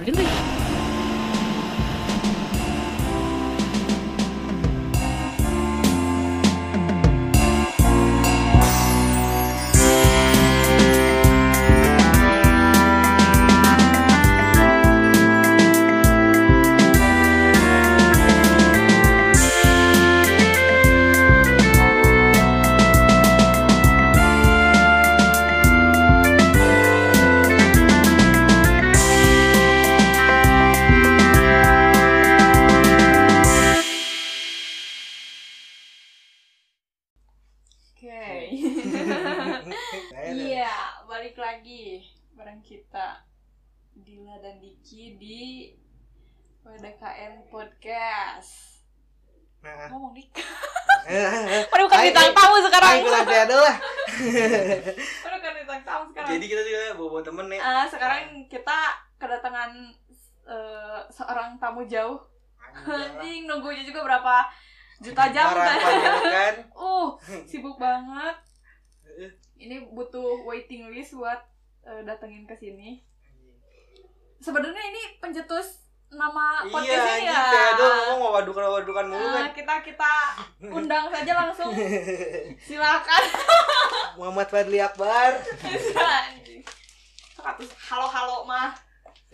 Öyle mi? Oke. Iya. Iya, balik lagi bareng kita Dila dan Diki di PDKM Podcast. Nah. Ngomong dik. Iya. Waduh, bukan Ay, bintang ay, kan tamu sekarang. Aku lagi adalah. Udah kan ditang tamu sekarang. Jadi kita juga bawa temen nih. Ah, sekarang kita kedatangan eh, seorang tamu jauh. Anjing nunggunya juga berapa juta jam Marah kan? panjang kan. Uh, sibuk banget. Ini butuh waiting list buat eh, datengin ke sini. Sebenarnya ini pencetus nama podcast Iya, ini ini ya. kayak ada ngomong mau wadukan wadukan mulu Eh, kan. kita kita undang saja langsung. Silakan. Ah. Muhammad Fadli Akbar. Anjing. Seratus halo-halo mah.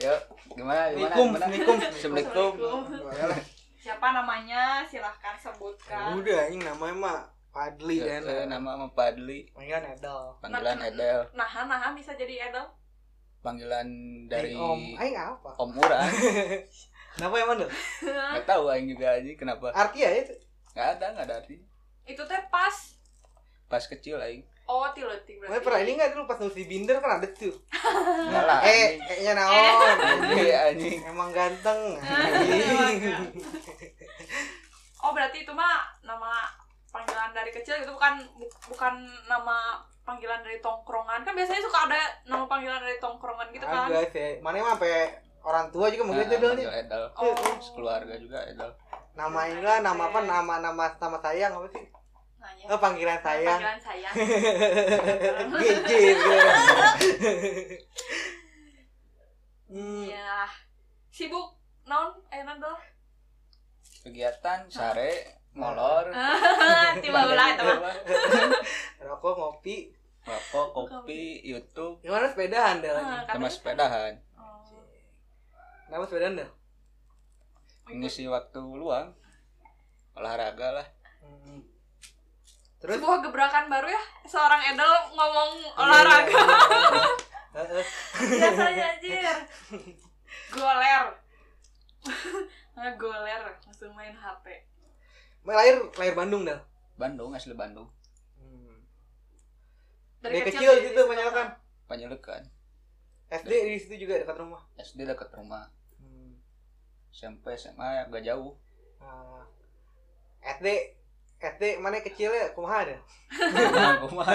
Yuk, gimana gimana? Assalamualaikum, gimana? assalamualaikum. Assalamualaikum. Siapa namanya? Silahkan sebutkan. Udah anjing namanya mah Fadli Eh, kan. Oh, iya, eh, nama sama Padli, Panggilan Edel. panggilan Nah, Edel, Nah, nah bisa jadi Edel. panggilan dari Eh, Om, Om, aing apa? Uran. Kenapa emang tuh? Gak tahu aing juga aja kenapa. Arti ya itu. Gak ada, gak ada arti. Itu teh pas. Pas kecil aing. Oh, tileti Gue berarti. pernah ini nggak dulu pas nulis di binder kan ada tuh. Enggak lah. Eh, kayaknya naon. Eh. anjing. Iya, anjing. Emang ganteng. Oh, berarti itu mah nama panggilan dari kecil itu bukan bu- bukan nama panggilan dari tongkrongan. Kan biasanya suka ada nama panggilan dari tongkrongan gitu kan. Agak sih. Mana emang sampai orang tua juga mungkin itu gitu dulu nih. panggilan Nah, Oh. Edel. Keluarga juga Edel. Nama inilah nama Iya. apa nama nama nama sayang apa sih? Nah, ya. Oh, panggilan sayang. gitu. Panggilan sayang. GG. Hmm, Iya. Sibuk non eh non dong. Kegiatan sare, molor, Ah, Tiba ulah itu mah. rokok, ngopi. rokok, kopi, YouTube, Gimana sepedahan deh lagi? Ah, sama katanya- sepedahan. Oh. Kenapa sepedahan deh? Mengisi waktu luang. Olahraga lah. Hmm. Terus Sebuah gebrakan baru ya seorang Edel ngomong olahraga Iya. Heeh. biasanya anjir. Goler. Ngegoler langsung main HP. Emang lahir lahir Bandung Hmm. dah. Bandung, asli Bandung. Dari kecil jadi gitu suka. menyalakan. Panjelekan. SD di situ juga dekat rumah. SD dekat rumah. Hmm. SMP, SMA, gak jauh. Ah. SD SD mana kecilnya kumaha ada? Kumaha, kumaha.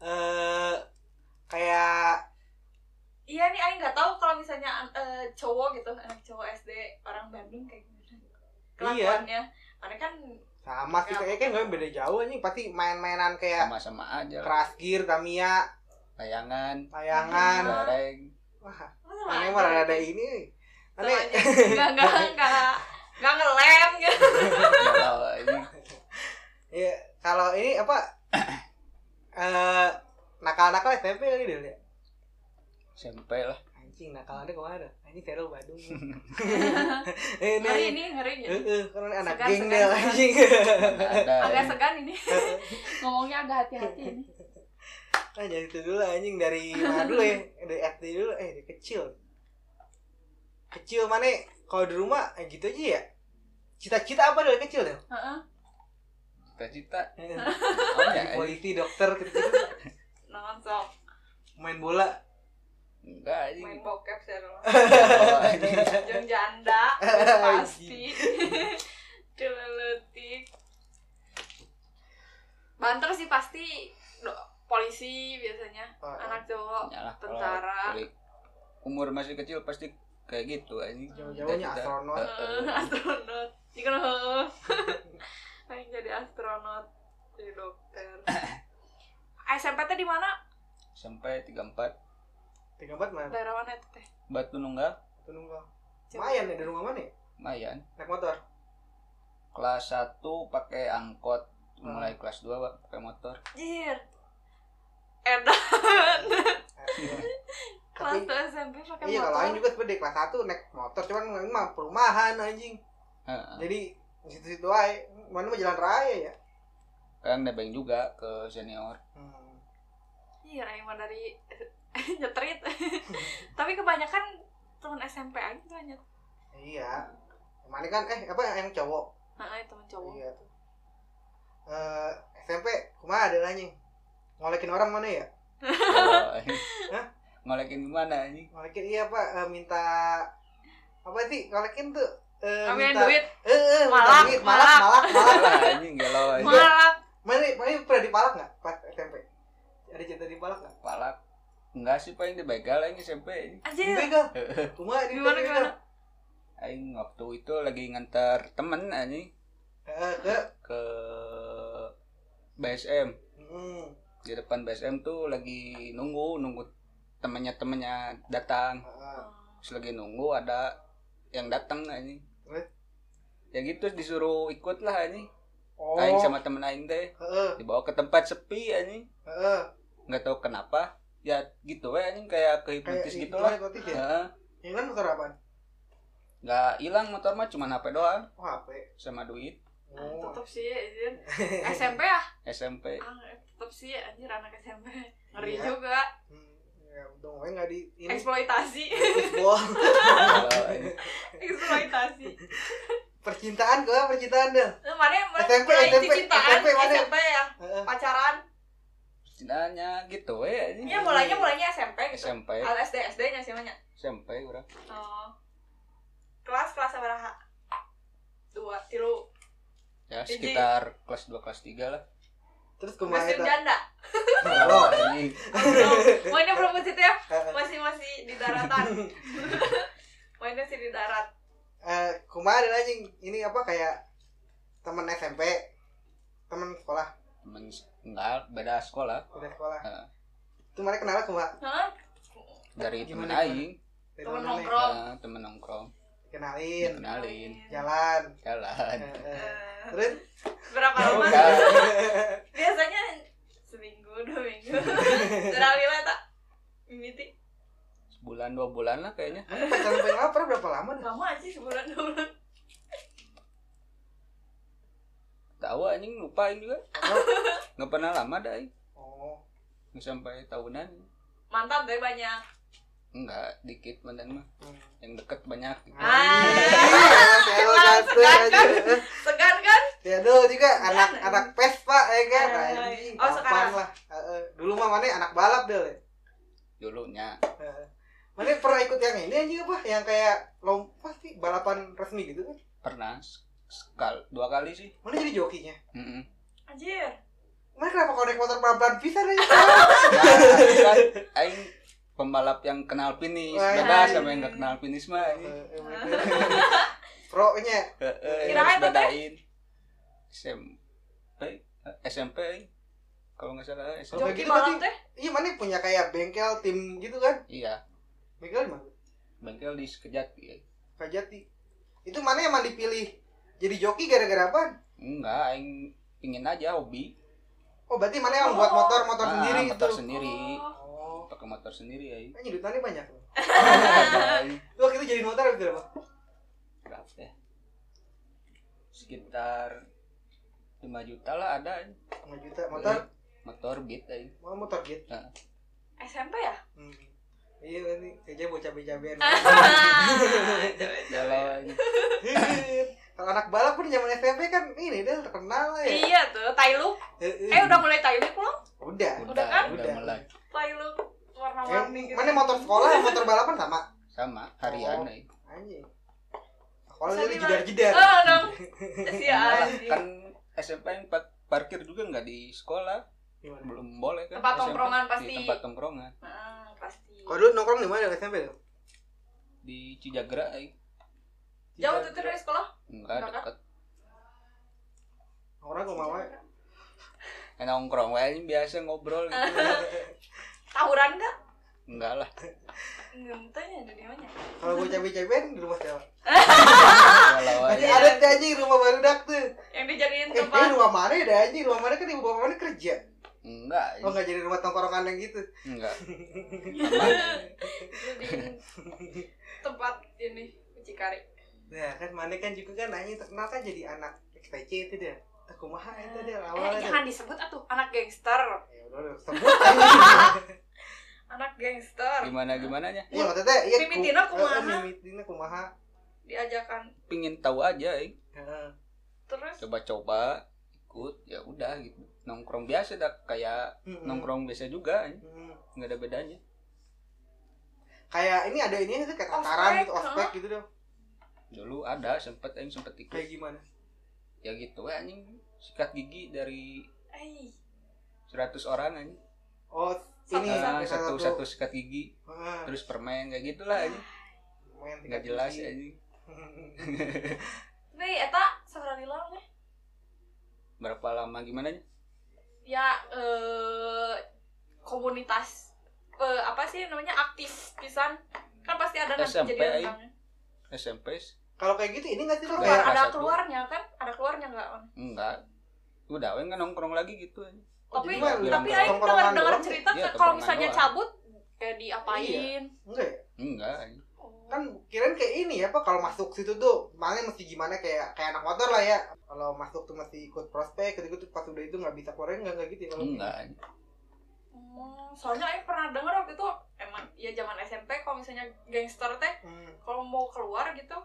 Eh kayak Iya nih Aing nggak tahu kalau misalnya eh, cowok gitu anak cowok SD orang Bandung kayak Iya. gimana kelakuannya. Karena kan sama sih kayaknya kan nggak beda jauh anjing pasti main-mainan kayak sama-sama aja lah. keras gear, Tamiya, layangan layangan. Iya. bareng Wah, mana aneh mah ada ini. Aneh. nggak nggak nggak nggak ngelem gitu. galau ini Ya, kalau ini apa? Eh nakal-nakal SMP kali dulu ya. SMP lah Anjing nakalannya kemana? dah? Anjing terlalu Bandung. eh, Ngeri ini. ini ngeri gitu. Eh, eh, karena anak Segan, geng segan, deh segan. anjing. Nggak ada Agak ini. segan ini ngomongnya agak hati-hati ini. Ah, jadi itu dulu anjing dari mana dulu ya? Dari SD dulu, eh dari kecil. Kecil mana? Kalau di rumah eh, gitu aja ya. Cita-cita apa dari kecil deh? Heeh. cita-cita Jadi oh ya ini. polisi, dokter, gitu-gitu. Naon sok Main bola. enggak iya. ini main bokep sih lo. Galau, ini. Jangan janda udah pasti. Keleletik. Banter sih pasti Do- polisi biasanya Oh, anak cowok Ya lah, kalau tentara dari umur masih kecil pasti kayak gitu ini Jauh-jauhnya Cita-cita. astronot. Eh, astronot jika pengen jadi astronot jadi dokter SMP teh di mana sampai 34 tiga empat mana daerah mana itu teh Batu Nunggal penunggal lumayan ya dari rumah mana ya? lumayan naik motor kelas 1 pakai angkot Hmm. mulai kelas 2 Pak, pakai motor jir edan Eh, iya. kelas tapi tuh SMP pakai iya kalau motor lain juga sebenarnya kelas satu naik motor cuman memang mah perumahan anjing Heeh. jadi di situ-situ aja mana mah jalan raya ya kan nebeng juga ke senior hmm. iya Rai mah dari nyetrit tapi kebanyakan teman SMP aja tuh hanya iya mana kan eh apa yang cowok nah, teman cowok Iya. Eh, SMP kumaha ada anjing ngolekin orang mana ya Hah? ngolekin gimana ini ngolekin iya pak eh, minta apa sih ngolekin tuh eh, Ambilin minta duit eh, eh, minta Malak, duit. malak malak malak Alah, anjing galau anjing. malah mana mana pernah dipalak nggak pas SMP ada cerita dipalak nggak palak enggak sih paling dibegal aing SMP ini. anjir Dibegal. kumaha Iya. gimana dibegal? gimana aing waktu itu lagi ngantar temen anjing Eh, ke ke BSM hmm. di depan BSM tuh lagi nunggu nunggu temennya temennya datang eh, Oh, terus lagi nunggu ada yang datang anjing Terus? ya gitu disuruh ikut lah anjing oh aing sama temen aing teh eh, dibawa ke tempat sepi anjing eh, eh. nggak tahu kenapa ya gitu we anjing kayak kayak kehipnotis gitu gitu lah hipnotis ya Heeh. ini kan motor apa nggak hilang motor mah cuma HP doang oh HP sama duit ah, oh. tutup sih anjir SMP ya SMP ah, tutup sih anjir anak SMP ngeri Iya. juga Hmm, ya untung gue nggak di ini eksploitasi Ekspor. Kalau ini eksploitasi percintaan gue percintaan deh kemarin SMP, mulai SMP, cintaan SMP, mana? SMP yang Heeh. ya. pacaran Cintanya gitu we anjing ya mulainya mulainya SMP gitu SMP Al SD SD nya sih banyak SMP urang oh. kelas kelas berapa dua tilu ya Hiji. sekitar kelas 2 kelas 3 lah terus kemana masih itu janda Kalau anjing Oh, belum. mainnya belum ke situ ya masih masih di daratan mainnya sih di darat Eh, kumaha ada anjing ini apa kayak teman SMP teman sekolah temen enggak beda sekolah udah sekolah Heeh. itu mana kenal kumaha Hah? dari temen Gimana, aing Dari temen mana? nongkrong Nah, temen nongkrong kenalin dikenalin jalan Eh, jalan eh. Iya. Eh, terus kan? berapa lama Jalan. biasanya seminggu dua minggu terawih lah tak mimiti sebulan dua bulan lah kayaknya Anjing, pacaran paling lama pernah berapa lama dah? lama aja sebulan dua bulan tahu anjing lupa aing juga Oh. nggak pernah lama dah aing oh Nggak sampai tahunan mantan tapi banyak enggak dikit mantan mah Hmm. yang deket banyak Ah. Iya, Telo satu aja. segan kan Telo juga anak Segan. anak pes pak, ya kan? Eh, Anjing, Iya. oh, kapan sekarang. lah. Eh, eh. dulu mah mana anak balap deh. dulunya Heeh. Eh, Mana pernah ikut yang ini aja apa? Yang kayak lompat sih balapan resmi gitu kan? pernah sekal dua kali sih Mana jadi jokinya? Mm-mm. anjir Mana kenapa kalau naik motor pelan-pelan bisa aja? Nah, aing kan- aing pembalap yang kenal finish Wah, bebas anjing. sama yang nggak kenal finish mah anjing. Pro-nya Heeh, yang Kirain harus apa, Teh? bedain SMP eh, SMP aing. kalau nggak salah SMP Kayak joki gitu malam berarti- teh Iya mana punya kayak bengkel tim gitu kan? iya Bengkel di mana? bengkel di iya. sekejati Kajati. Itu mana emang dipilih jadi joki gara-gara apa? enggak aing pingin aja hobi Oh berarti mana yang Oh. buat motor motor Ah, sendiri motor gitu? sendiri Oh. Oh, pakai motor sendiri aing kan nyudutannya banyak. loh. Ada, aing. Lu waktu itu jadi motor gitu apa? berapa ya? sekitar 5 juta lah ada aing. 5 juta motor, Iya. motor beat aing mau motor gitu. SMP ya Hmm. Iya berarti kayaknya bocah cabe-cabean. Nah, galau aing. Kalau anak balap pun zaman SMP kan ini dia terkenal lah ya. iya tuh Tailu eh udah mulai Tailu belum Udah. Udah kan? udah Udah. mulai Tailu Eh, warna-warni gitu mana motor sekolah, motor balapan sama? sama harian aing. Anjing. Sekolah Saya jadi bilang- jedar-jedar. oh dong si Malah, anjing kan SMP yang pa- parkir juga nggak di sekolah Gimana? belum boleh kan Tempat SMP. tongkrongan Di pasti. tempat tongkrongan Heeh, Ah, pasti Kalau dulu nongkrong di mana SMP tuh? di Cijagra aing. jauh tuh tuh dari sekolah enggak Enggak, deket Orang ke mama. Eh, nongkrong aja biasa ngobrol gitu tawuran kan Enggak lah. ngentenya ya, ada di mana Kalau gue cabai-cabean di rumah siapa? Kalau Masih aja. ada tuh anjing rumah baru dak tuh. yang dijadiin Eh, eh tempat rumah mana ya dah anjing? Rumah mana kan ibu bapak mana kerja? Enggak. Oh nggak jadi rumah tongkrongan yang gitu. Enggak. eh. Dijadiin tempat ini mucikari Nah kan mana kan juga kan anjing terkenal kan jadi anak XTC itu dia. Aku mah itu eh, dia awalnya. jangan disebut atuh anak gangster Ya udah udah sebut anjing. anak gangster Gimana gimiananya? Iya maksudnya iya. ku- Mimitina kumaha? Eh, eh, Mimitina kumaha? diajakan Pingin tahu aja, eh. Heeh. terus coba-coba ikut ya udah gitu nongkrong biasa dah kayak Mm-mm. nongkrong biasa juga eh. Mm. nggak ada bedanya Kayak ini ada ini itu kayak Ospek, tataran gitu, huh? ospek gitu dong. dulu ada sempet aing sempet ikut Kayak gimana? ya gitu we anjing sikat gigi dari eh 100 orang anjing Oh, ini Nah, yang satu satu sikat gigi Heeh. terus permen kayak gitulah anjing Main nggak tiga jelas eh. biji. anjing nih eta sabarani lawan ya berapa lama gimana nya? ya eh, komunitas eh, apa sih namanya aktif pisan kan pasti ada nanti SMP, jadi Aing. rentangnya. SMP s- Kalau kayak gitu ini nggak sih lo Keluar. keluar kayak ada kelas satu. keluarnya kan ada keluarnya nggak On? enggak udah we nggak nongkrong lagi gitu anjing. Oh, tapi jadi mah tapi bilang Aing dengar tongkrongan dengar doang. cerita Iya, kan kalau tongkrongan misalnya doang. cabut kayak diapain enggak ya? enggak anjing. kan kirain kayak ini ya pak kalau masuk situ tuh makanya mesti gimana kayak kayak anak motor lah ya kalau masuk tuh mesti ikut prospek ketika tuh pas udah itu nggak bisa keluarnya nggak nggak gitu ya kalau enggak anjing. Hmm, soalnya Aing pernah dengar waktu itu emang ya zaman SMP kalau misalnya gangster teh Hmm, kalau mau keluar gitu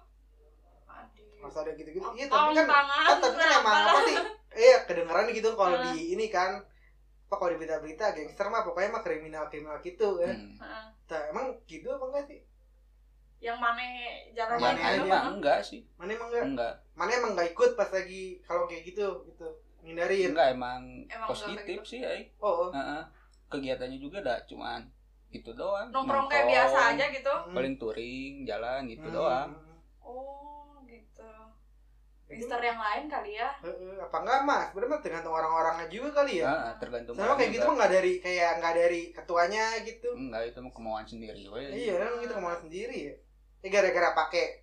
aduh masa ada gitu-gitu iya Potong tapi kan tangan, kan, tapi kan emang apalah. apa sih iya kedengeran gitu kalau Ah. di ini kan apa kalau di berita-berita gangster mah pokoknya mah kriminal kriminal gitu kan Hmm. Heeh. Tah, emang gitu apa enggak sih yang mana gitu, jarang Mana main Mana aja. aja mah enggak sih mana emang enggak enggak mana emang enggak ikut pas lagi kalau kayak gitu gitu ngindarin enggak gitu? emang, Emang positif enggak kayak sih anjing. oh, oh. Heeh. kegiatannya juga dah cuman itu doang nongkrong kayak biasa aja gitu paling touring jalan gitu Hmm. doang oh gitu Jadi, gangster yang lain kali ya Heeh, apa enggak mah sebenarnya mah tergantung orang-orangnya juga kali ya Heeh, tergantung sama orang kayak gitu juga. mah nggak dari kayak nggak dari ketuanya gitu enggak itu mah kemauan sendiri we iya kan kita ngomong sendiri ya Eh, gara-gara pakai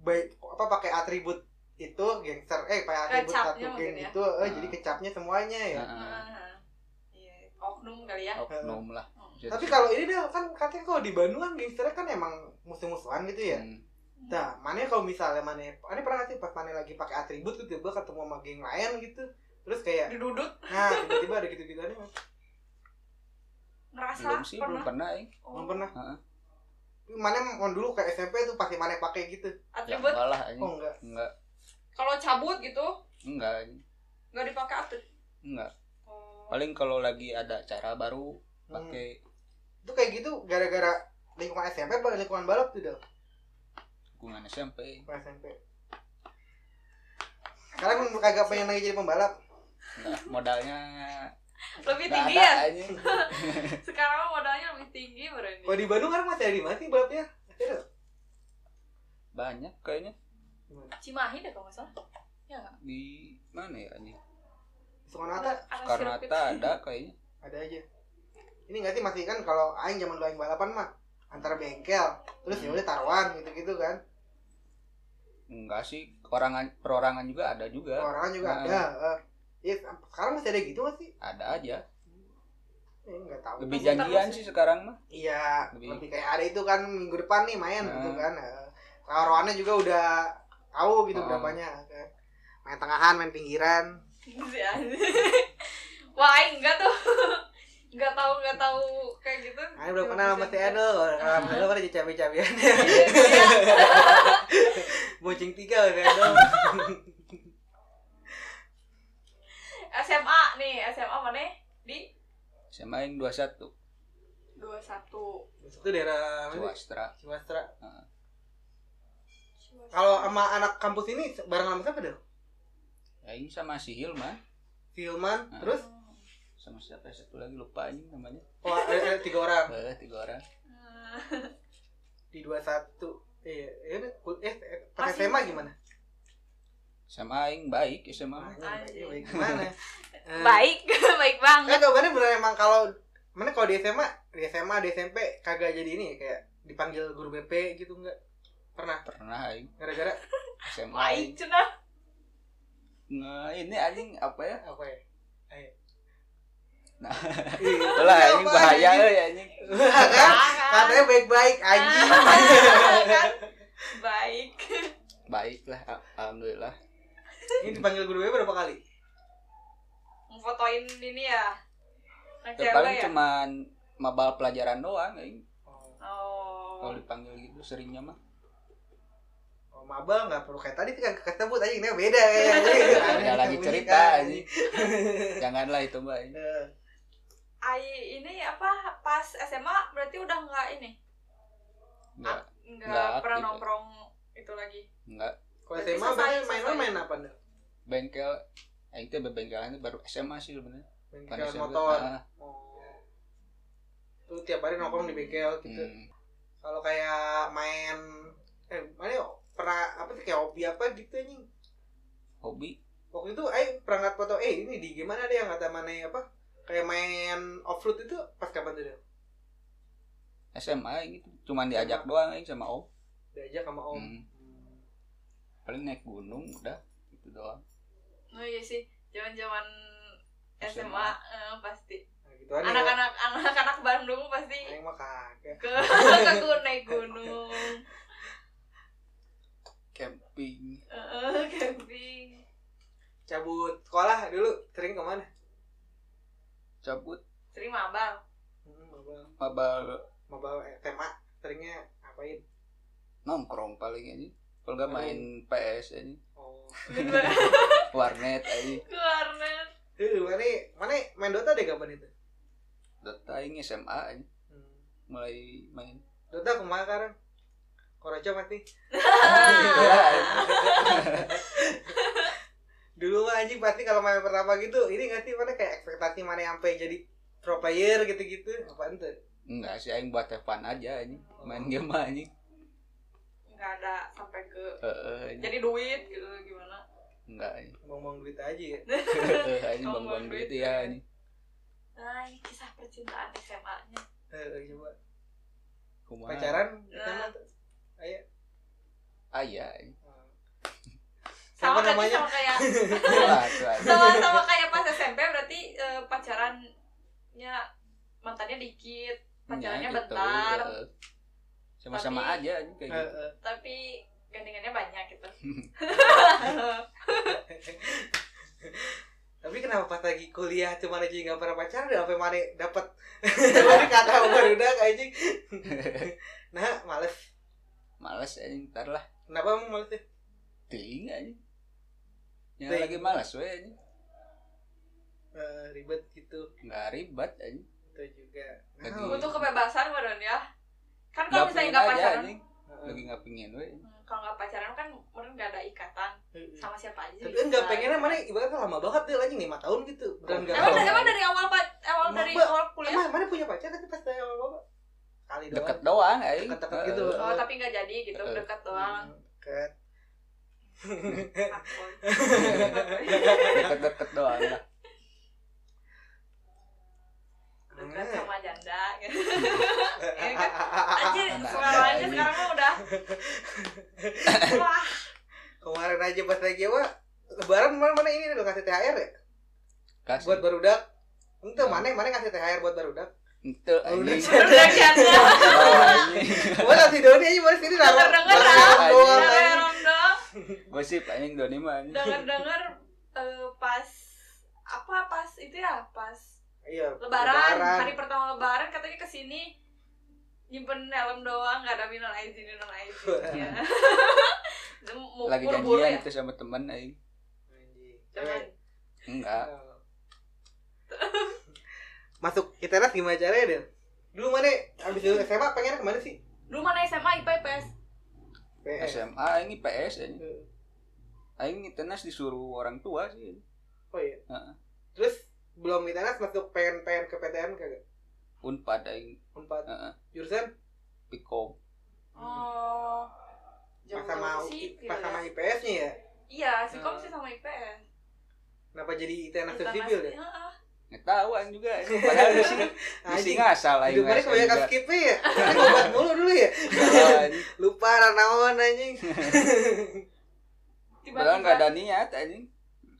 baik apa pakai atribut itu gangster eh pakai atribut Kecapnya satu mungkin geng ya. itu eh, Ah. jadi kecapnya semuanya ya Heeh, Heeh. Iya, oknum kali ya oknum lah Heeh. tapi kalau ini deh kan katanya kalau di Bandung kan gangsternya kan emang musuh-musuhan gitu ya Hmm. Nah, mana kalau misalnya mana, mana pernah nggak sih pas mana lagi pakai atribut gitu, tiba ketemu sama geng lain gitu, terus kayak, didudut nah tiba-tiba ada gitu-gituannya, ngerasa belum sih belum pernah pernah eh. belum Oh, pernah. Heeh. Mana mau dulu kayak SMP tuh pasti mana pakai gitu, ya atribut enggak lah anjing. oh enggak? enggak kalau cabut gitu enggak anjing. nggak dipakai atlet enggak oh. paling kalau lagi ada cara baru Hmm. pakai itu kayak gitu gara-gara lingkungan SMP apa lingkungan balap tuh dong dukungan SMP lingkungan SMP sekarang emang kagak pengen lagi jadi pembalap enggak modalnya lebih enggak tinggi ada eh. ya anjing. sekarang modalnya lebih tinggi berani kalau di Bandung kan masih ada di mana sih balapnya banyak kayaknya Cimahi deh kalau nggak salah di mana ya anjing Soekarno Ada karena sirkuit. ada kayaknya ada aja ini nggak sih masih kan kalau aing zaman dulu aing balapan mah antara bengkel terus ya udah taruhan gitu gitu kan enggak sih orangan perorangan juga ada juga orang juga Nah. ada eh. Iya, sekarang masih ada gitu nggak sih ada aja Eh, nggak tahu lebih Masih janjian terus. sih sekarang mah iya Lebih. lebih. kayak ada itu kan minggu depan nih main Nah. gitu kan eh. taruhannya juga udah tahu gitu Oh. berapanya kan. main tengahan main pinggiran Si anjing. Iya. Wah, aing enggak tuh. Enggak tahu enggak tahu kayak gitu. Ayo udah kenal sama si Edo, Ah. alhamdulillah udah jadi cabe-cabean Iya. Bocing tiga udah Edo SMA nih, SMA mana? Di saya main 21 21. Itu daerah mana sih? swastra Ciwastra Heeh. Kalau sama anak kampus ini bareng sama siapa dong? ya ini sama si Hilman Filman, Ah. terus sama siapa ya? satu lagi lupa anjing namanya oh, ada, ada tiga orang eh tiga orang Eh, Di 21 Iya, iya, eh, eh, pas Masih- SMA gimana? sama aing baik ya sama Gimana? Gimana? Eh, Baik, baik banget. Kan jawabannya bener emang kalau Mana kalau di SMA, di SMA, di SMP kagak jadi ini ya, kayak dipanggil guru BP gitu enggak? Pernah pernah aing gara-gara SMA Lain aing. cenah. nah ini anjing apa ya apa ya? Ayo. Nah. Ih, lah ini anjing apa, bahaya anjing? euy anjing Lah, Eh, kan? Katanya baik-baik anjing. Ah. Kan? Baik. baiklah al- alhamdulillah Ini dipanggil guru BP berapa kali? Fotoin ini ya. Anak ya, cewek paling ya. cuman mabal pelajaran doang aing Oh. kalau dipanggil gitu seringnya mah Oh, mabal nggak perlu kayak tadi kan ketemu tadi ini beda ya. ada lagi cerita anjing janganlah itu mbak anjing. Eh, Ai ini apa pas SMA berarti udah nggak ini enggak Nggak nggak pernah aktif. ya. nongkrong itu lagi. enggak Kalau Berarti SMA selesai, main main selesai. main apa nih? bengkel aing teh bebengkelan teh baru SMA sih sebenarnya Main Bukan bengkel SMP. motor. Ah, Oh. Tuh tiap hari nongkrong di bengkel gitu. hmm. Kalau kayak main eh mana ya, pernah apa sih kayak hobi apa gitu anjing. hobi Waktu itu aing perangkat foto eh ini di gimana deh yang kata mana ya, apa? Kayak main offroad itu pas kapan tuh? Del? SMA gitu cuman diajak doang aing sama om Diajak sama om. Hmm. paling naik gunung udah itu doang Oh iya sih, zaman-zaman SMA, SMA. eh, pasti. Nah, gitu aja. Anak-anak anak-anak Bandung pasti Aing mah kagak. ke ke naik gunung, camping Eh, camping. Cabut sekolah dulu sering kemana? cabut Sering mabal. Hmm, mabal. mabal mabal SMA seringnya ngapain? nongkrong paling aja kalau nggak main PS aja Oh. warnet aja ke warnet. Duh, mana mana main Dota deh kapan itu? Hmm. Dota ini SMA aja mulai main Dota kemana sekarang? Koraco mati. Dulu mah anjing pasti kalau main pertama gitu, ini nggak sih mana kayak ekspektasi mana yang sampai jadi pro player gitu-gitu. Apaan tuh? enggak sih aing buat have fun aja aja main game aja Nggak ada sampai ke heeh aja jadi duit gitu gimana. enggak aja Ngomong duit aja ya. Heeh, aja bang bang duit ya aja Nah, ini kisah percintaan SMA-nya. Eh, coba kumaha pacaran pertama Nah, tuh. ayah Ah, iya, aja sama Apa kan namanya? sama kayak Lah, tuh aja. sama sama kayak pas SMP berarti eh, pacarannya mantannya dikit, pacarannya Ya, gitu, bentar. heeh. sama-sama Tapi- aja aja kayak Eh, gitu eh. tapi gandengannya banyak gitu Tapi kenapa pas lagi kuliah cuma aja nggak pernah pacaran dan sampai mana dapat Mana kata baru udah anjing. Nah, males. males aja ntar lah Kenapa emang males ya? ting aja yang Ting. lagi malas we aja Eh, ribet gitu. nggak ribet aja Kan Itu juga. Lagi- Nah, butuh kebebasan meren ya kan kalau misalnya pengen nggak aja pacaran aja lagi nggak pengen Gitu we Hmm, kalau nggak pacaran kan meren nggak ada ikatan sama siapa aja Eh, Tapi bisa. kan gak pengennya mana ibaratnya lama banget deh anjing 5 tahun gitu. Dan gak emang Nggak dari, tahu. emang dari awal pa- awal Emang dari Mbak- awal kuliah Emang mana punya pacar tapi pas saya bawa kali doang. deket doang Eh, aja Deket-deket gitu. oh tapi nggak jadi gitu Eh. dekat doang Deket. Takut. deket-deket doang lah dekat sama janda gitu. Hmm. Ya kan? Anjir, Anak-anak semuanya aja. sekarang mah udah Wah, Kemarin aja pas lagi apa? Lebaran mana mana ini lo kasih THR ya? kasih Buat barudak. Ente Hmm. mana mana kasih THR buat barudak. itu anjing Barudak. udah janda Gua kasih Doni aja buat sini lah. Terdengar, Barudak ah. doang, udah anjing. rerong dong gosip anjing Doni mah anjing. dengar-dengar eh, pas apa pas itu ya pas Iya. lebaran, hari pertama lebaran katanya kesini nyimpen helm doang nggak ada minal aizin minal aizin ya Itu mau lagi buru-buru janjian ya itu sama temen aing Anjing. Eh. cuman enggak Masuk ITERAS gimana caranya, Del? Dulu mana abis dulu SMA pengen kemana sih? dulu mana SMA IPA IPS PS. SMA ini PS aja aing tenas disuruh orang tua sih Oh iya. Heeh. Terus belum ITERAS masuk pengen pengen ke PTN kagak? unpad Eh, aing Empat Heeh. jurusan pikom oh pas sama sih pas sama IPS-nya ya. iya sih Eh. sih sama IPS Kenapa jadi ITERAS Internasi- sipil ya? Heeh. nggak tahu aing juga. anjing. Padahal di sini di sini Anjing. ngasal aing. Hidup mana ngasal kebanyakan juga. skip ya. Tapi ngobat mulu dulu ya. Jalan. Lupa ranaon anjing. Padahal nggak ada niat anjing.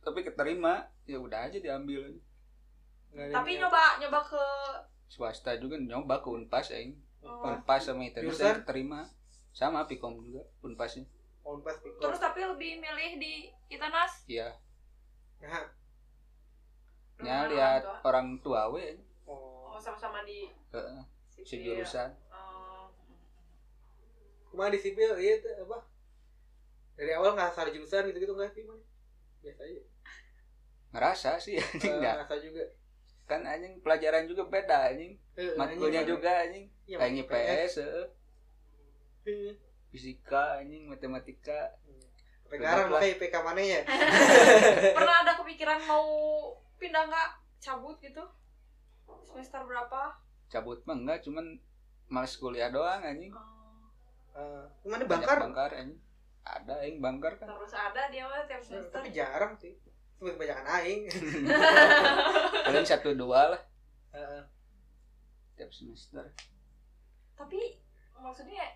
Tapi keterima, ya udah aja diambil. Nggak ada tapi niat. nyoba nyoba ke swasta juga nyoba ke Unpas aing. oh, Unpas sama ITB Jurusan? saya keterima. Sama Pikom juga Unpasnya. Kompas pikor. terus tapi lebih milih di Itanas Iya, Nah, nya Rumah Ya, lihat orang orang tua we anjing. tua. oh. oh sama-sama di Heeh, sipil. ya? sejurusan. Oh. Kemana di sipil iya tuh, apa? Dari awal ngasar jurusan gitu-gitu enggak sih, Man? Biasa aja. Ngerasa Eh, sih anjing dah. ngasar juga. Kan anjing pelajaran juga beda anjing. Eh, Matkulnya anjing, juga anjing. Iya, Kayak PS. IPS, heeh. Iya. fisika anjing, matematika. Sampai Sekarang Lah. makanya IPK mana ya? pernah ada kepikiran mau pindah nggak cabut gitu semester berapa Cabut mah enggak, cuman males kuliah doang anjing. Oh, Eh, Gimana Banyak bangkar? Bangkar anjing. Ada aing bangkar kan. terus ada dia mah tiap Eh, semester Tapi jarang sih. Cuma kebanyakan aing. Paling satu dua lah Heeh. tiap semester. tapi maksudnya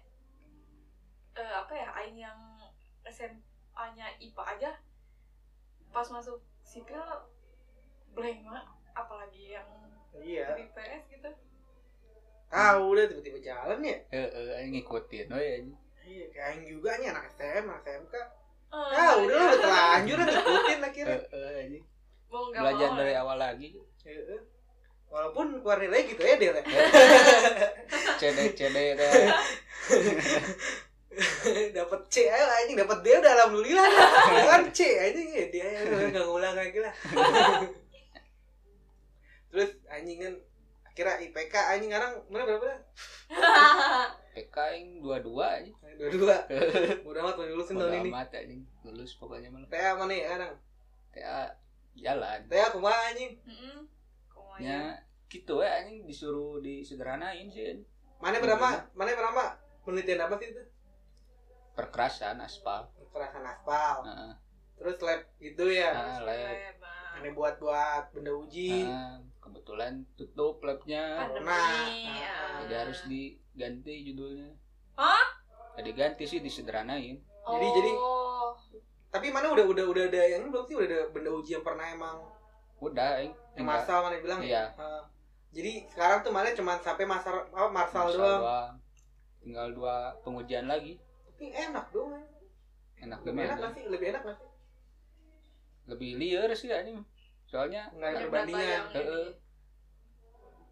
eh, apa ya aing yang SMA-nya IPA aja pas masuk sipil blank banget apalagi yang Iya. dari PS gitu Tahu deh tiba-tiba jalan ya. Heeh, aing ngikutin we Eh, anjing. Iya, kayak aing juga nih anak STM, anak SMK. Eh, Ah, udah lah, udah terlanjur udah ngikutin akhirnya. Heeh, Eh, anjing. mau nggak Belajar mau dari awal lagi. Heeh. Walaupun keluar nilai gitu ya, Del. ya. CD-CD dapat C ayo anjing, dapat D udah alhamdulillah. Kan C anjing ya dia ya udah enggak ngulang lagi lah. Terus anjing kan kira IPK anjing sekarang mana berapa dah? PK yang dua-dua anjing. Dua-dua. Udah amat mau lulusin Bodo tahun ini. amat anjing. Lulus pokoknya malah. TA mana ya sekarang? TA jalan. TA kumaha anjing? Mm-mm. Kumaha ya? Ya gitu ya anjing disuruh disederhanain sih. anjing. Mana pertama? Mana pertama? Penelitian apa sih itu? Perkerasan aspal. Nah, Kerasan aspal. Heeh. Terus lab gitu ya. Ah, lab. Nah, Ini buat-buat benda uji. Ah, kebetulan tutup labnya. pandemi Nah, ya. Jadi harus diganti judulnya. Hah? Gak Ya, diganti sih disederhanain. jadi- jadi- Oh, Tapi mana udah udah udah ada yang ini belum sih udah ada benda uji yang pernah emang Udah, aing yang tinggal massal mana bilang Iya. Heeh. jadi sekarang tuh mana cuma sampai masal apa marsal masalah doang. doang. Tinggal dua pengujian lagi. Tapi enak dong. eh. Enak Lebih enak gimana? nggak sih? Lebih enak nggak sih? Lebih liar sih anjing. Soalnya Nggak ada ada iya, berapa perbandingan. yang ini? Heeh.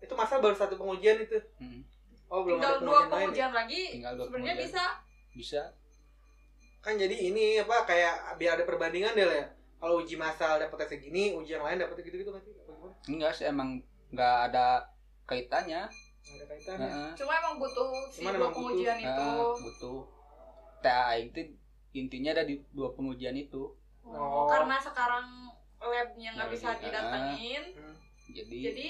Itu masal baru satu pengujian itu. mm, Oh belum tinggal ada dua pengujian lain. ya? pengujian lagi Tinggal dua sebenarnya pengujian. bisa bisa Kan jadi ini apa kayak biar ada perbandingan deh ya. Kalau uji masal dapetnya segini, uji yang lain dapetnya gitu-gitu nggak sih? Apa gimana? enggak sih emang nggak ada kaitannya. Nggak ada kaitannya. Heeh. cuma emang butuh si Cuman dua emang butuh. Ah. pengujian itu Heeh, butuh TA itu intinya ada di dua pengujian itu. Oh, Oh. ah. karena sekarang labnya nggak Nggak bisa bisa. didatengin Hmm. Jadi, jadi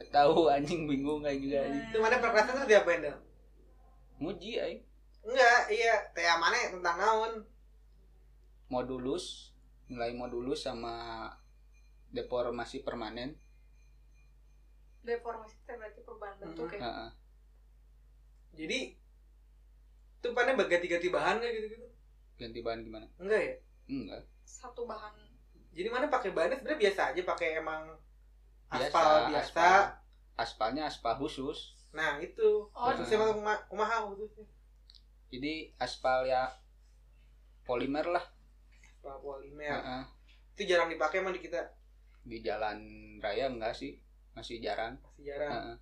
nggak tahu anjing bingung kayak juga eh, anjing. Iya, Itu mana perkerasan tuh diapain dong? Nguji aing Enggak, iya. Tea mana tentang naon? modulus, nilai modulus sama deformasi permanen. deformasi itu berarti perubahan bentuk Nah. ya Heeh. Jadi itu pada ganti-ganti bahan kayak gitu-gitu? Ganti bahan gimana? Enggak ya? Enggak. satu bahan Jadi mana pakai bahannya sebenarnya biasa aja pakai emang Biasa, aspal biasa. aspal. Aspalnya aspal khusus. Nah, itu. Oh, Terus saya masuk kuma- kumaha khususnya? Jadi aspal ya polimer lah. Aspal polimer. Heeh. Itu jarang dipakai emang di kita. Di jalan raya enggak sih? Masih jarang. Masih jarang. Heeh.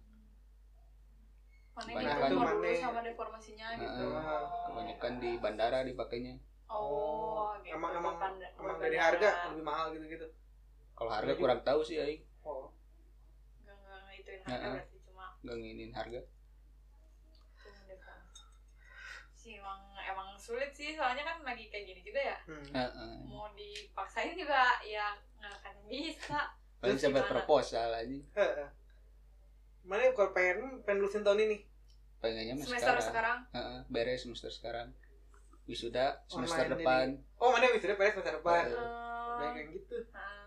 mana Banyak yang diukur lagi. dulu Mana- sama deformasinya Ah, gitu Heeh. Kebanyakan di bandara dipakainya. oh gitu. Emang emang Perbandingan. emang dari ya. harga lebih mahal gitu-gitu. Kalau harga Lagi- kurang tahu sih aing. Oh. nggak nggak ngituin Ah, harga Heeh. berarti cuma Enggak nginin harga. cuma deformasi sih emang emang sulit sih soalnya kan lagi kayak gini juga ya Hmm. Heeh. mau dipaksain juga ya nggak akan bisa Paling Terus sampai gimana? proposal anjing. Heeh. Mana kalau pengen pengen lulusin tahun ini? Pengennya mah semester sekarang. sekarang Heeh, beres semester sekarang. Wisuda semester Online depan. Iya. Oh, mana wisuda pengen semester depan. Heeh. eh, Kayak gitu. nah,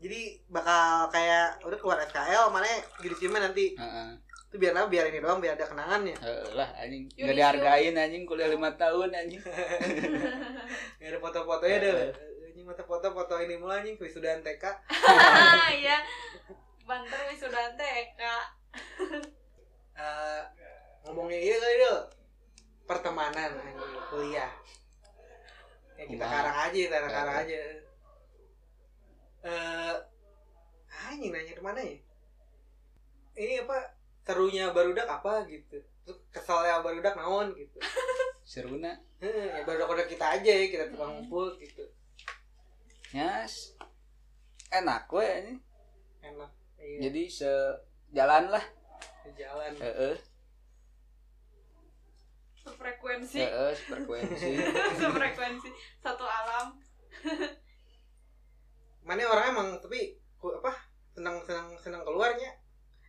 jadi bakal kayak udah keluar FKL mana jadi ciuman nanti Heeh. itu biar apa biar ini doang biar ada kenangannya Heeh lah anjing Yuk, nggak dihargain anjing kuliah lima tahun anjing biar ada foto-fotonya ada Heeh. ini mata foto-foto ini mulai anjing wisudan TK ya banter wisuda TK Eh, ngomongnya ini kali dulu pertemanan anjing kuliah ya kita Wah. karang aja kita karang ya. Heeh. aja eh anjing nanya kemana ya ini apa serunya barudak apa gitu Terus kesalnya barudak naon gitu seruna Heeh, ya barudak-barudak kita aja ya kita Hmm. tukang ngumpul gitu nyas enak we anjing enak iya jadi sejalan lah di jalan heeh sefrekuensi heeh frekuensi sefrekuensi satu alam mana orang emang tapi ku- apa senang senang senang keluarnya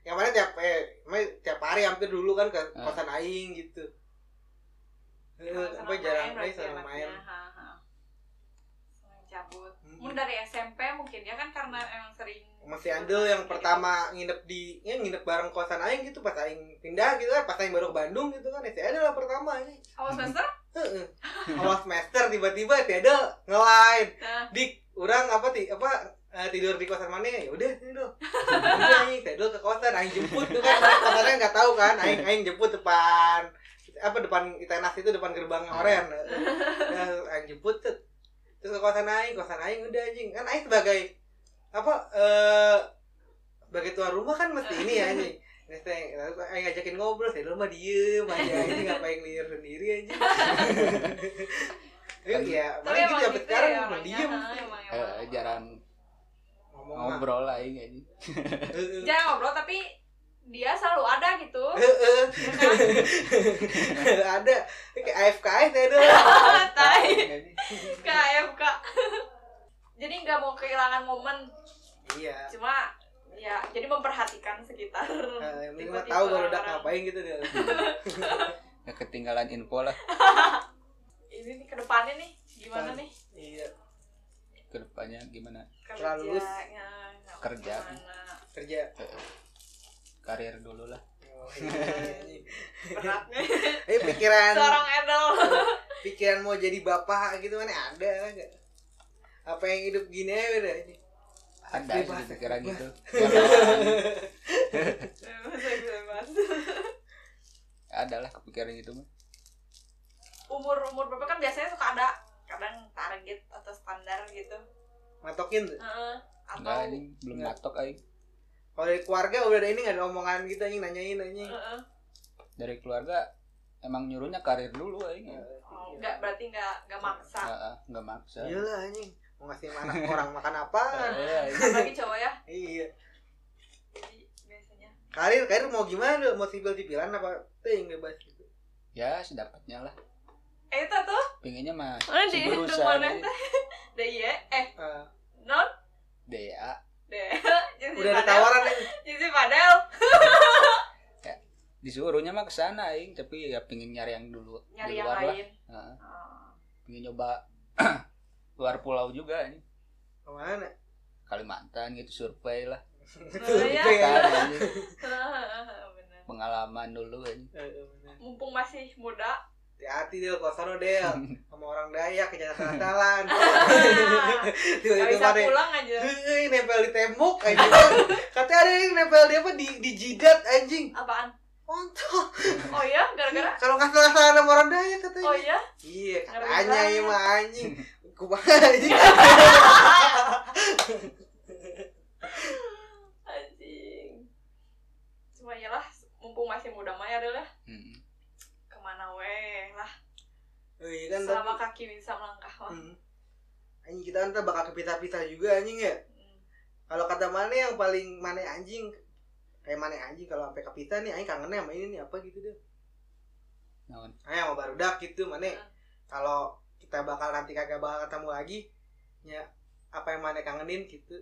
yang mana tiap eh mana tiap hari hampir dulu kan ke Ah. kosan aing gitu Eh, Kalau apa senang jarang berarti ya, main senang main anaknya. Ha, ha. Senang cabut Hmm. mungkin dari SMP mungkin ya kan karena emang sering masih andel yang pertama nginep di ya nginep bareng kosan aing gitu pas aing pindah gitu kan pas aing baru ke Bandung gitu kan masih ada lah pertama ini awal semester Heeh. awal semester tiba-tiba tiada ngelain Nah. dik orang apa ti apa eh, tidur di kosan mana ya udah sini dulu udah aing tidur ke kosan aing jemput tuh kan Orang kosannya nggak tahu kan aing aing jemput depan apa depan itenas itu depan gerbang oren nah, aing jemput tuh terus ke kosan aing kosan aing udah anjing kan aing sebagai apa eh sebagai tuan rumah kan mesti ini ya anjing Terus aing- terus aing ngajakin ngobrol, saya dulu mah diem aja, ini ngapain liar sendiri aja Tapi ya, tapi makanya gitu emang sampai gitu sekarang ya mah orangnya diem Eh, ha, emang, emang. heeh jarang Ngomong mah Eh, ngobrol lah ini anjing Heeh. jarang ngobrol tapi dia selalu ada gitu Heeh. ya kan? Eh, Ada, Ini kayak AFK saya dulu tai ke AFK ya, jadi nggak mau kehilangan momen Iya, cuma ya jadi memperhatikan sekitar Eh, yang penting Tiba-tiba mah tahu baru udah orang- ngapain gitu dia Nggak ketinggalan info lah ini nih kedepannya nih gimana Depan. nih Iya, ke depannya gimana kerja ya, Setelah lulus. Kerja. kerja Heeh. karir dulu lah Oh, iya, anjing. beratnya Eh pikiran seorang idol pikiran mau jadi bapak gitu mana ada kan nggak? apa yang hidup gini aja udah ini ada Bebas. sih pikiran gitu Bebas, bebas. ada lah kepikiran gitu mah umur umur berapa kan biasanya suka ada kadang target atau standar gitu matokin tuh. Heeh. atau enggak anjing belum Nggak. matok aing kalau dari keluarga udah ada ini nggak ada omongan gitu anjing nanyain anjing Heeh. dari keluarga emang nyuruhnya karir dulu aing Eh, Oh, nggak berarti nggak nggak maksa Heeh, nggak maksa iya lah anjing mau ngasih anak orang makan apa Heeh, aing. apalagi cowok ya iya jadi biasanya karir karir mau gimana dulu? mau sipil sipilan apa tuh yang bebas gitu ya sedapatnya lah eh itu tuh pinginnya mah Oh, di si hitung berusaha mana nih. deh iya eh Eh, non DA deh jadi udah ada padel. tawaran yang jadi padel disuruhnya mah kesana aing tapi ya pingin nyari yang dulu nyari di yang luar lah lain Heeh, Oh. pingin nyoba luar pulau juga ini kemana Kalimantan gitu survei lah Oh, iya. Survei, ya. Tar, anjing. Bener. pengalaman dulu ini Eh, eh, bener. mumpung masih muda hati-hati deh kalau sana Iya. del sama orang Dayak jangan salah-salahan Gak tiba-tiba bisa pada pulang aja Hei, nempel di tembok aja kan. Katanya ada yang nempel di apa di, di jidat anjing. apaan Ontol. oh ya gara-gara Kalau ngasal-ngasal sama orang daya katanya. oh ya Iya, Ngeri katanya banget. ya mah anjing. Kumaha anjing. anjing cuma ya lah mumpung masih muda mah ya adalah Hmm. kemana weh lah Oh, iya kan selama kaki tapi- bisa melangkah mah Hmm. Anjing kita ntar bakal kepisah-pisah juga anjing ya. Kalau kata mana yang paling mana anjing kayak mana anjing kalau sampai kepisah nih anjing kangennya sama ini nih apa gitu deh. Naon? Ayo sama barudak gitu mana Heeh. kalau kita bakal nanti kagak bakal ketemu lagi ya apa yang mana kangenin gitu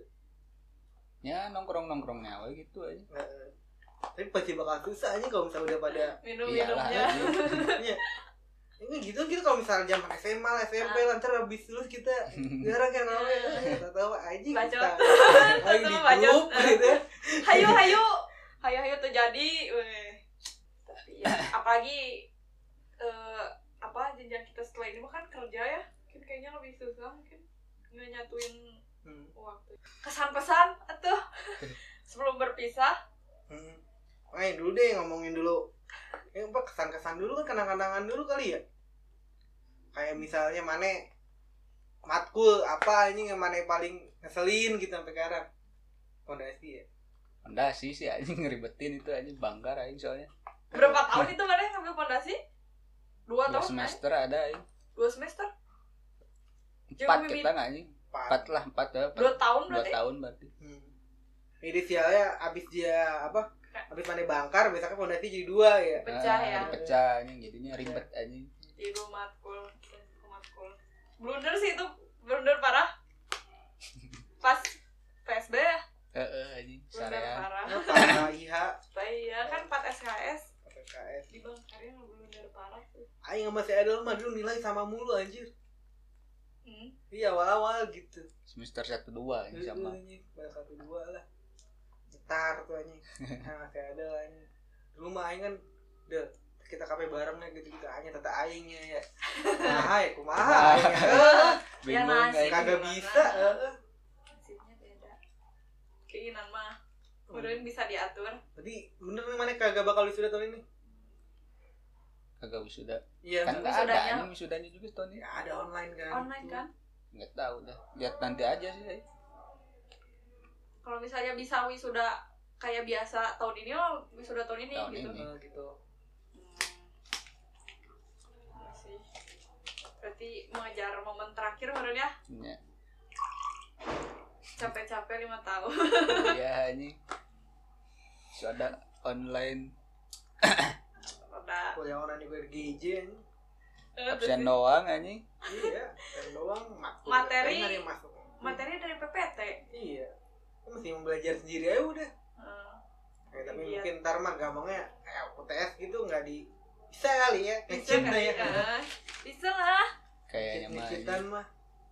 ya nongkrong nongkrongnya we gitu aja Heeh. tapi pasti bakal susah aja kalau misalnya udah pada Iya minum Iyalah, minumnya anjing. ini gitu gitu kalau misalnya zaman SMA lah SMP lah ntar habis lulus kita Iya. jarang kan namanya tahu tahu aja Bacot. kita Tahu-tahu lagi di bacot. grup gitu hayu hayu hayu hayu terjadi weh. tapi ya apalagi eh, apa jenjang kita setelah ini mah kan kerja ya mungkin kayaknya lebih susah mungkin nggak nyatuin Hmm. waktu kesan pesan atuh sebelum berpisah Hmm. Makanya dulu deh ngomongin dulu. Eh, apa kesan-kesan dulu kan kenang-kenangan dulu kali ya. Kayak misalnya Mane matkul apa ini yang Mane paling ngeselin gitu sampai sekarang. Fondasi ya. Fondasi sih anjing ngeribetin itu anjing banggar anjing soalnya. berapa tahun itu mana ngambil fondasi dua Dua tahun kan? semester ada anjing. dua semester Empat Jangan kita nggak anjing. Empat Pak. lah, empat ya. dua tahun Dua berarti tahun berarti. Hmm. Ini sialnya abis dia apa? Abis Mane bangkar, biasanya fondasi jadi dua ya. pecah ya Iya. Ah, Pecah anjing jadinya ribet anjing. di rumah matkul Gua matkul blunder sih itu blunder parah pas PSB ya Heeh anjing blunder Eh, sarean. parah Karena IH, tapi ya kan 4 SKS PKS. di bangkarnya blunder parah tuh Aing sama si Adel mah dulu nilai sama mulu anjir. hmm. Iya awal-awal gitu. Semester satu dua anjing sama. Iya, Banyak satu dua lah. Gitar tuh anjing. Nah, kayak ada lah anjing. Dulu mah aing kan udah kita kafe bareng lah gitu gitu aja tata aingnya ya. Nah, ya kumaha aing. Eh, Ya, Bingung nasi. anjing. Kagak bisa, eh, heeh. prinsipnya beda keinginan mah Hmm. kemudian bisa diatur Jadi bener nih mana kagak bakal wisuda tahun ini? Kagak wisuda. Iya. Kan nggak ada wisudanya- anjing wisudanya juga tahun ini. Ya, ada online kan. Hmm. online kan Enggak tahu dah. Lihat nanti aja sih. anjing. kalau misalnya bisa wisuda kayak biasa tahun ini oh wisuda tahun ini Tahun gitu ini. Eh, gitu. Hmm. Ya sih. berarti mengejar momen terakhir menurutnya Ya. capek-capek lima tahun Iya anjing. Wisuda online Iya, udah Kuliah online juga di GJ anjing. Eh, absen doang anjing. Iya, kan doang matkul. Materi- Tapi nggak ada yang masuk. materi dari PPT Iya. Kan Mesti belajar sendiri aja udah. Eh, Ya, tapi Iya. mungkin ntar mah gampangnya kayak UTS gitu nggak di bisa kali ya bisa Ngecit dah kali ya kan bisa lah Kayaknya mah. gitu anjing. ngecitan mah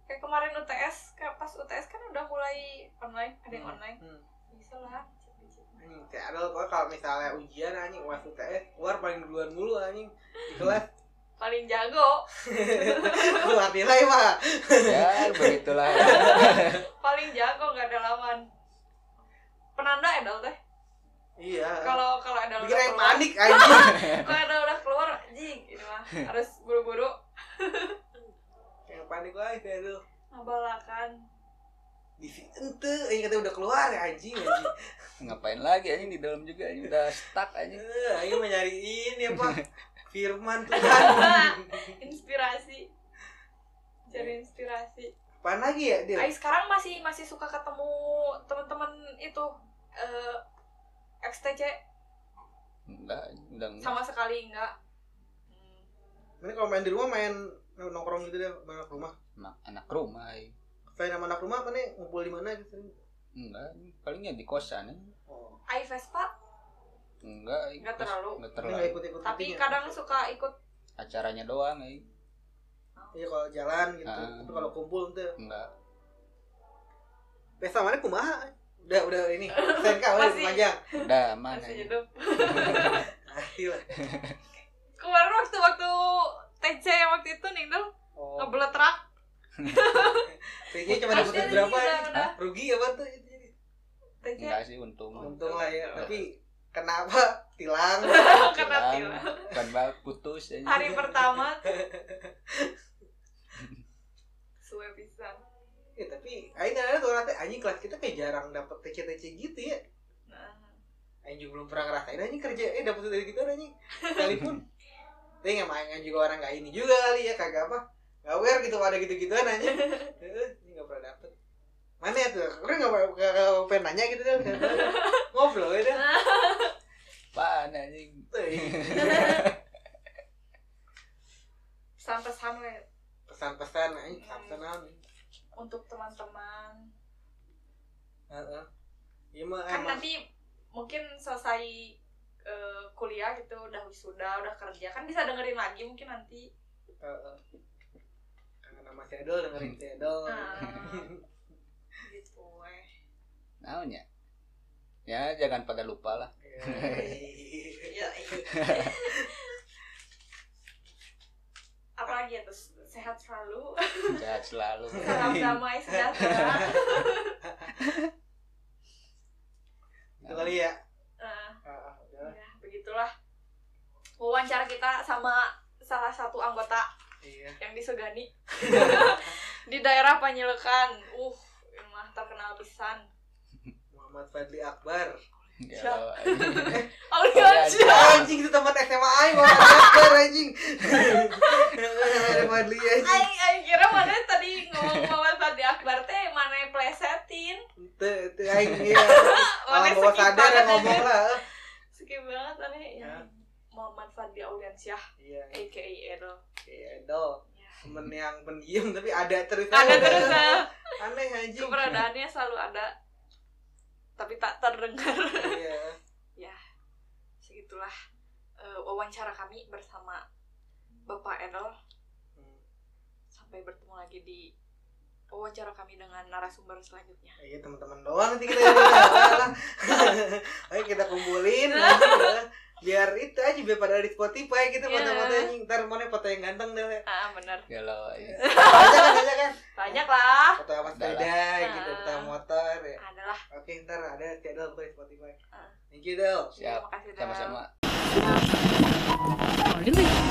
kayak kemarin UTS kayak pas UTS kan udah mulai online ada yang Hmm. online hmm. bisa lah kecil-kecil. anjing kayak ada kalau kalau misalnya ujian anjing uas UTS keluar paling duluan mulu anjing di kelas paling jago keluar nilai mah Ya begitulah. paling jago nggak ada lawan penanda ada teh iya kalau kalau ada udah bikin yang keluar panik anjing kalau ada udah keluar jing ini mah harus buru-buru yang panik eh, wae kayak lu ngabalakan di si ente anjing katanya udah keluar ya anjing anjing Ngapain lagi anjing di dalam juga anjing udah stuck anjing. Eh, anjing mau nyariin ya pak firman Tuhan inspirasi cari inspirasi apaan lagi ya dia Ai sekarang masih masih suka ketemu teman-teman itu eh XTC Iya. Enggak, anjing, udah enggak. sama sekali enggak. Hmm. ini kalau main di rumah main nongkrong gitu deh main ke rumah anak, anak rumah eh. anjing. Kayak nama anak rumah apa nih ngumpul di mana gitu? enggak anjing. palingnya di kosan anjing. Oh, Ai Vespa enggak anjing. Enggak Kos- terlalu. enggak ini terlalu nggak gitu ya? ikut-ikut. tapi itunya. kadang suka ikut acaranya doang eh. anjing. Iya kalau jalan gitu, Ah. tapi kalau kumpul tuh. enggak Pesta mana kumaha? Udah udah ini. SNK udah Masih. panjang. Nah, udah aman masih anjing. hidup. Pasti lah. Kemarin waktu waktu TC yang waktu itu nih dong Oh. ngebelet rak. Kayaknya cuma Ada Ada Masih sih, dapetin berapa udah, ini? udah. Rugi apa tuh? TC enggak sih untung Untung lah ya, tapi kenapa tilang? kena Tilang, tilang. bukan banget putus anjing. Hari pertama tuh. suwe pisan. ya, tapi aing ada tuh nanti anjing kelas kita kayak jarang dapet TC-TC gitu ya. Nah, Aing juga belum pernah ngerasain anjing kerja eh dapet dari gitu anjing. Sekalipun. Tapi nggak mainan juga orang nggak ini juga kali ya kagak apa. Nggak aware gitu pada gitu-gituan aja. Heeh, ini nggak pernah dapet. Mana ya tuh? Keren nggak nggak- nggak pengen nanya gitu deh. Ngobrol ya dah. apaan anjing Tuh, pesan-pesan we Pesan-pesan anjing, pesan-pesan apa? untuk teman-teman Heeh. Iya mah kan emang. nanti mungkin selesai eh, kuliah gitu udah wisuda udah kerja kan bisa dengerin lagi mungkin nanti Heeh. kangen sama si Edel dengerin si Edel Nah, gitu weh. Naunya. Ya, jangan pada lupa lah. Iya. Yoi. Iya. Apalagi ya terus sehat selalu, Sehat selalu. salam damai sejahtera. itu kali ya Nah, Heeh, udah. ya begitulah wawancara kita sama salah satu anggota iya yang disegani di daerah Panyilekan. Uh, ieu mah terkenal pisan. Muhammad Fadli Akbar Kalau Aulia aja. anjing itu tempat SMA aing Muhammad Fadli Akbar anjing Muhammad Fadli anjing Aing aing kira mana tadi ngomong Muhammad Fadli Akbar teh mana plesetin. Teu- teu aing iya Mana alam bawah skip sadar yang banget ngomong aja. lah eh. Skip banget aneh. Ya. Muhammad Fadli Auliansyah iya aka Edel. si Edel temen yang pendiam tapi ada terus ya. Ada terus ah. aneh anjing keberadaannya selalu ada tapi tak terdengar. iya Segitulah eh, wawancara kami bersama Bapak Edel. Hmm. Sampai bertemu lagi di wawancara kami dengan narasumber selanjutnya. Iya teman-teman doang nanti kita ya, lah. Ayo kita kumpulin Nah. nanti ya. biar itu aja biar pada di Spotify gitu Iya. foto-foto yang ntar mana foto yang ganteng deh. Le. Ah, bener. kalau Aja kan aja kan Banyak lah. foto sama Adalah. sepeda gitu Ah. foto sama motor ya. Adalah. Oke ntar ada channel di Spotify. Ah. Thank you Del. siap Terima kasih Del. sama-sama. Morning, Rick.